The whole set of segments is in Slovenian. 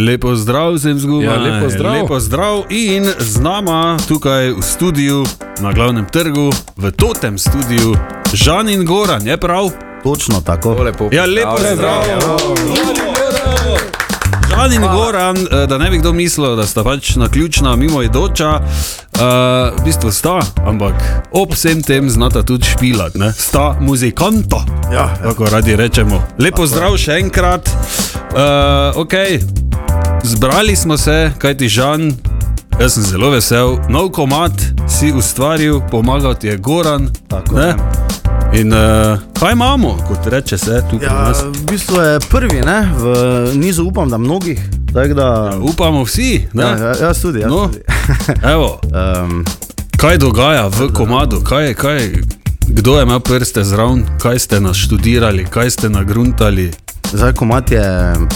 Lepo zdrav, sem zguba. Ja, lepo zdrav. Lepo zdrav in z nama tukaj v studiu na glavnem trgu, v totem studiu, Žan in Goran, je prav? Točno tako. Lepo. Ja. Ja, lepo zdrav. Žan in Goran, eh, da ne bi kdo mislil, da sta pač na ključna mimoidoča, uh, v bistvu sta, ampak ob vsem tem znata tudi špilat, ne? sta muzikanta. Ja, Tako radi rečemo. Lepo zdrav še enkrat. Uh, okay. Zbrali smo se, kaj ti žan. Jaz sem zelo vesel, nov komat si ustvaril, pomagal ti je Goran. Tako, ne? In uh, kaj imamo, kot reče se tukaj ja. ja, nas. v bistvu je prvi ne, v nizu, upam, da mnogih. Tako da, Upamo vsi, ja, ne? ja, jaz tudi. Jaz No. tudi. Evo, um, kaj dogaja v komadu, kaj je, kaj, kdo je imel prste zraven, kaj ste nas študirali, kaj ste nagruntali. zdaj, komat je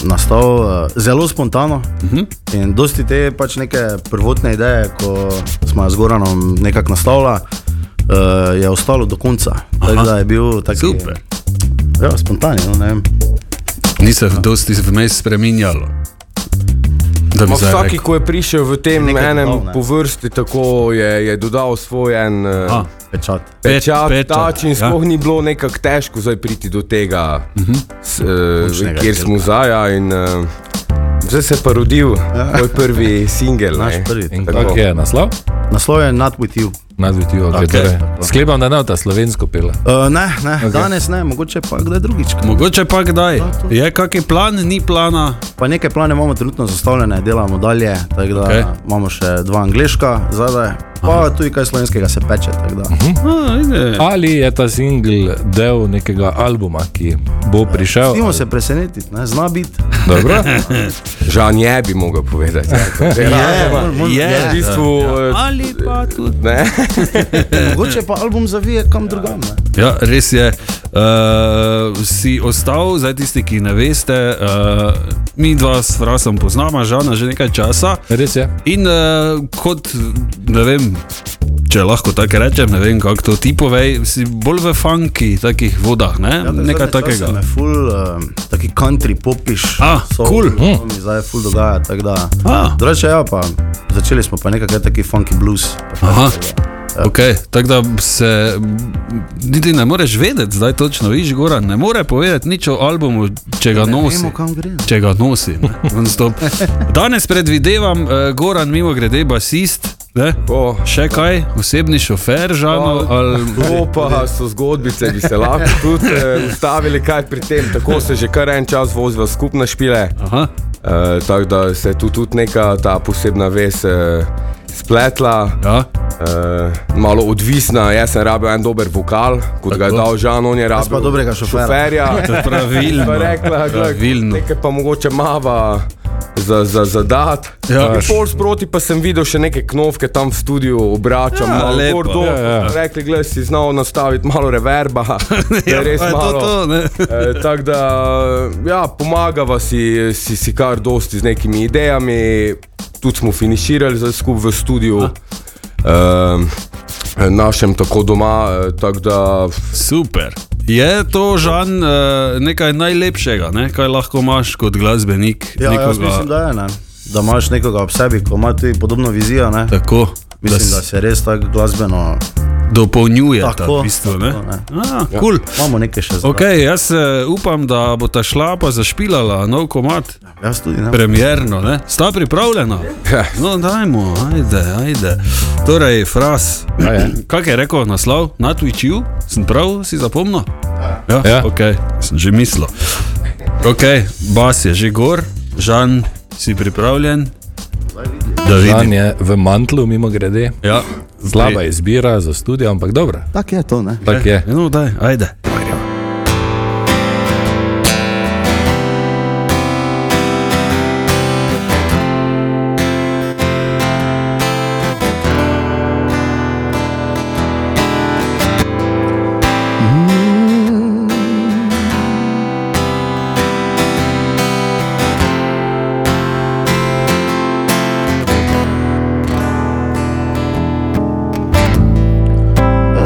nastal eh, zelo spontano. Uh Mhm. -huh. In dosti te pač neke prvotne ideje, ko smo jo z Goranom nekako nastavljali, uh, je ostalo do konca. Tako Aha. da je bil tak Super. Ja, spontan, je, no, ne vem. Ni se dosti vmes spreminjalo. Da bi Ma zdaj vsaki, rekel. ko je prišel v tem Nekaj dodal, enem ne. po vrsti, tako je, je dodal svoj en eh, A, Pečat. pečat, pečat, tač in ja. sploh ni bilo nekako težko zdaj priti do tega, s, eh, Končnega kjer smo zdaj. In, eh, zdaj se je pa rodil moj prvi singel. Ja. Naš ne. prvi, In Tako. kako je naslov? Naslov je Not With You. Nadvitijo, okay, Tako. torej. Sklepam, da ne ta slovensko pela. Uh, ne, ne, okay. danes ne, mogoče pa kdaj drugič. Mogoče pa kdaj. Je kakšen plan, ni plana. Pa nekaj plane imamo trenutno zastavljene, delamo dalje, tako da Okej. okay. imamo še dva angliška zadaj, pa Aha. tudi kaj slovenskega se peče. tako da. A, ide. Ali je ta singl del nekega albuma, ki bo prišel? Pustimo se presenetiti, ne, zna biti. Dobro. Žan je bi mogel povedati. ja, Je, mol- mol- ja. je, v bistvu. eh, Ali pa tudi. Ne? Mogoče pa album zavije kam drugam. ne. Ja, res je. Uh, si ostal, zdaj tisti, ki ne veste, uh, mi dva s Frasom poznamo, žana že nekaj časa. Res je. In uh, kot, ne vem, če lahko tako rečem, ne vem, kako to ti povej, si bolj v funki, takih vodah, ne? Ja, tako nekaj zadnje čase Me takega. ful, um, taki country popiš. A, soul, cool. Mhm. to mi Zdaj je ful dogaja, tako da. A. Drugače, ja, pa začeli smo pa nekaj taki funky blues. Aha. Ja. Okay, tako da se niti ne moreš vedeti, zdaj točno viš, Gora. Ne more povedati nič o albumu, če ga Ne nosi. vemo, kam gre. Ja, Če ga nosi, ne, non-stop. Danes predvidevam, uh, Goran, mimo grede, basist. Ne? O, Še kaj, osebni šofer, žano. Ali... To pa so zgodbice, ki se lahko tudi eh, ustavili, kaj pri tem. Tako se že kar en čas voziva skupne špile. Aha, Eh, Tako da se je tu tudi neka ta posebna vez eh, spletla. ja. eh, malo odvisna, jaz sem rabil en dober vokal, kot Tako. ga je dal Žan, on je rabil. pa dobrega šoferja. šoferja. Pravilno. Pa rekla, glej, Pravilno. nekaj pa mogoče mava za, za, za dat. Ja. Ja. Pol sproti pa sem videl še neke knofke tam v studiu, obračam, Ja, ja, malo lepo. gor dol. Ja, ja. Rekli, glej, si znal nastaviti malo reverba. da Ja, je res pa je to, malo. to, ne. E, Tako da, ja, pomagava si, si, si kar dosti z nekimi idejami, tudi smo finiširali skupaj v studiu, um, našem tako doma. eh, Tako da, Super. Je to, Žan, eh, nekaj najlepšega, ne? kaj lahko imaš kot glasbenik? Ja, nekoga- jaz mislim, da je, ne. Da imaš nekoga ob sebi, ko ima tudi podobno vizijo, ne. Tako, Mislim, da, s- da se res tako glasbeno. dopolnjuje Tako, v bistvu. Ne? tako, ne. Ja. Ah, cool. Imamo nekaj še za okay, jaz eh, upam, da bo ta šla pa zašpilala nov komat, Jaz tudi ne. premjerno. Ne? Sta pripravljena? No, dajmo, ajde, ajde. Torej, fras. Kaj je rekel naslov? Na Twitchu, sem prav, si zapomnil? Ja, Ja. ok, sem že mislil. Ok, bas je že gor, žan, si pripravljen? Da Dan vidim. je v mantlu, mimo grede. Ja. Slaba izbira za studio, ampak dobro. Tako je to, ne. Tako je. No, daj, ajde.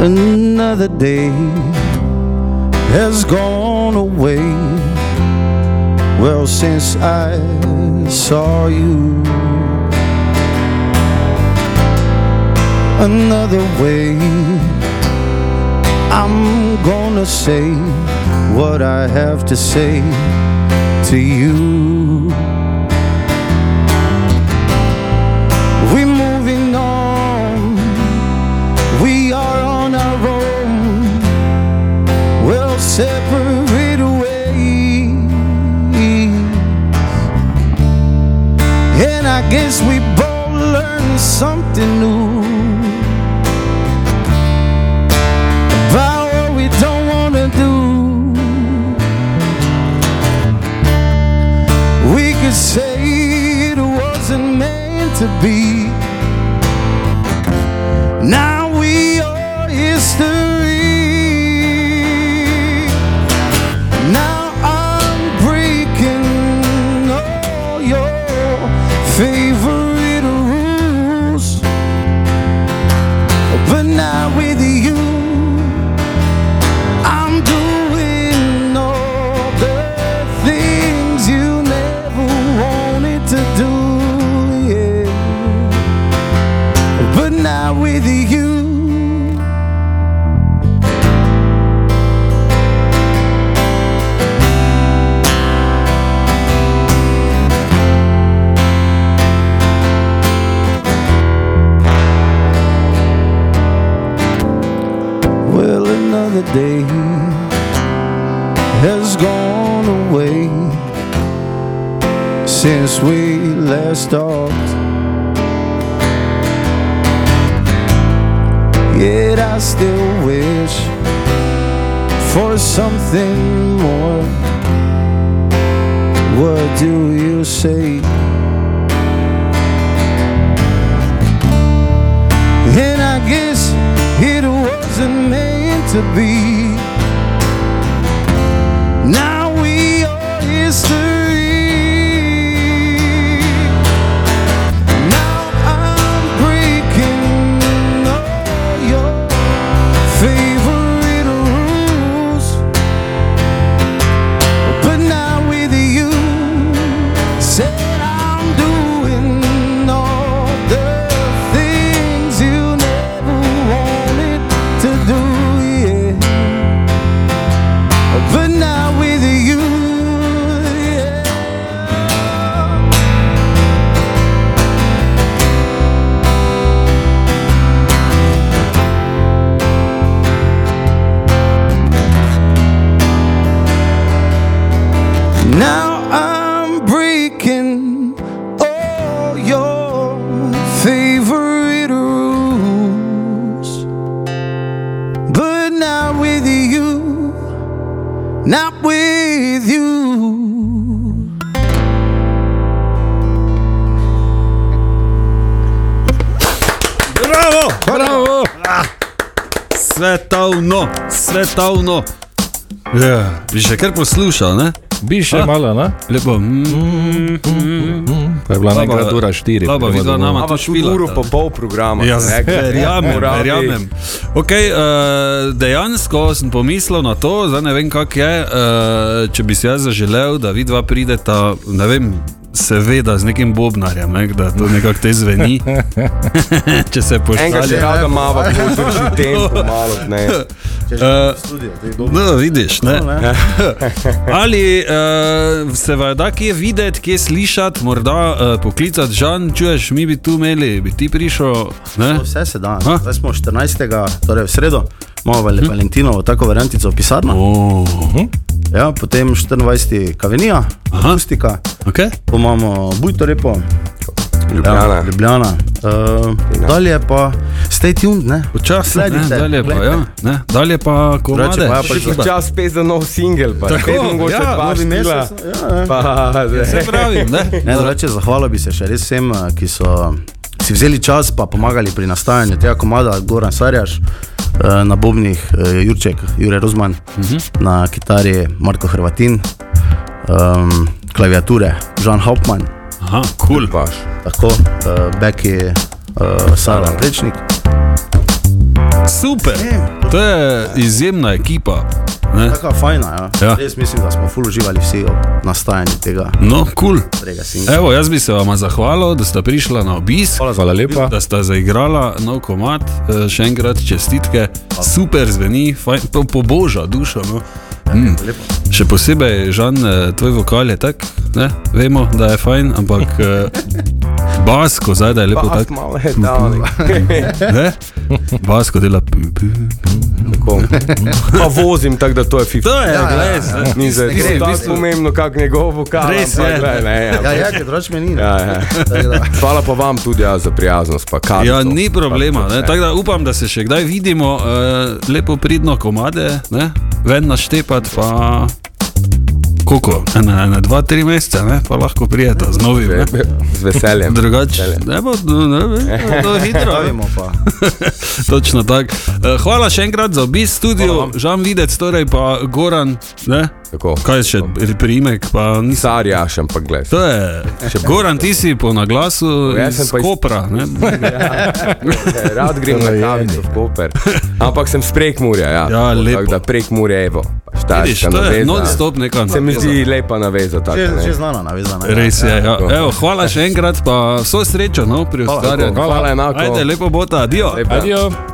Another day has gone away. Well, since I saw you another way. I'm gonna say what I have to say to you. We're moving on, we are on our own. We'll separate ways. And I guess we both learned something new about what we don't want to do. We could say it wasn't meant to be. Now we are history. Now I'm breaking all your favorite rules, but not with you. I'm doing all the things you never wanted to do, yeah, but not with you. Well, another day has gone away since we last talked. Yet I still wish for something more. What do you say? And I guess it wasn't meant to be. Now we are history. Now I'm breaking all your favorite rules, but not with you said I'm doing all the things you never wanted to do, yeah. But now with you, yeah. Now I'm breaking all your favorite rules, but not with you, not with you. Bravo! Bravo! Svetovno, svetovno. Ja, bi še kar poslušal, ne? Bi še A? malo, ne? Lepo. mm, Pa je bila Laba- nekrat ura štiri. Laba prema vidva domov. nama. Ampak tudi špila, uro da. pa pol programa. Ja, ne, ker verjamem, moravi- verjamem. Okay, uh, dejansko sem pomislil na to, zdaj ne vem, kako je. Uh, če bi si jaz zaželel, da vi dva prideta, ne vem, seveda z nekim bobnarjem, ne, da to nekako te zveni. če se Enega še pošlje. rada mava, ki drži tempo malo. Ne. Če že Eh, v studio, to je dobro. No, vidiš, ne? Ne? Ali uh, se vam da kje videti, kje slišati, morda uh, poklicati, žan, čuješ, mi bi tu imeli, bi ti prišel. Ne? To Vse se da. Ha? Hm? Zdaj smo 14. torej v sredo, imamo vale- Valentinovo tako variantico pisarna. Oh, Ja, potem 24. kavenija, Aha. akustika, okay. pa imamo bujtorepo, Ljubljana. ja, Ljubljana. Uh, dalje pa stay tuned, ne? Počasi, ne, Sledite, dalje pa, glejte. ja, ne, dalje pa, ko Drugače rade. pa ja pač Še čas spet za nov singel, pa Tako, spet mogoče ja, dva novi štila. Ja, ja. Pa, Se pravi, Ne, ne. drugače, zahvalil bi se še res vsem, eh, ki so si vzeli čas in pomagali pri nastajanju tega komada, Goran Sarjaš. eh, Na Bobnih eh, Jurček, Jurek Rozman, uh -huh. na kitari Marko Hrvatin, um, klaviature Žan Hauptmann, Aha, kul. Cool. Paš. tako uh, Beki uh, Sara Prečnik. Super. To je izjemna ekipa. Ne? Taka fajna, ja. Ja. ja. Res mislim, da smo ful uživali vsi ob nastajanju tega No, kul. prvega Cool. singla. Evo, jaz bi se vama zahvalil, da sta prišla na obisk. Hvala za Hvala lepa. Da sta zaigrala nov komat, Eh, še enkrat čestitke, super zveni, fajn, po, poboža dušo. No. Mm. lepo. Še posebej, Žan, eh, tvoj vokal je tak, ne? vemo, da je fajn, ampak eh, basko zdaj da je lepo Pa, ah, tak. malo je down. Ne? Basko dela. pu, pu. Tako. Pa vozim, tako da to je 50. To je, ja, glej, zdaj. Ni zdaj gre, v tako bistvu. pomembno, kako njegov vokal. Res ampak je. glej, ne, ja. Ja, ja, ker drugače meni ni. Ja, ja. Tako da- Hvala pa vam tudi ja, za prijaznost. pa kavico. Ja, ni problema. ne, Tako da upam, da se še kdaj vidimo, uh, lepo pridno komade, ne? ven naštepati, pa koliko, ena, ena, dva, tri mesece, ne? pa lahko prijeta z novim. ne. Z veseljem. Drugače, ne bo, no, ne bo, to je hitro. ne. Pravimo pa. Točno tako. Eh, Hvala še enkrat za obisk studio, Žan Videc, torej pa Goran, ne? Tako. kaj je še primek, pa nisem. Sarjaš, ampak gledaj. To je, Goran, ti si po naglasu Jaz Ja, sem iz pa iz- Kopra, ne? Eh, Rad grem na kavico v Koper. Ampak sem prek Murja. Ja, Ja, Tako lepo. da prek Murja, evo. Vidiš, Štajerska to je naveza. non-stop neka Se mi naveza. zdi lepa naveza. Taka, Že, ne. že znana navezana. ja. Res je. Ja. tako. Evo, hvala še enkrat, pa vso srečo no, pri ustvarjanju. Hvala enako. Ajde, lepo bota, adijo. Lepo. Adijo.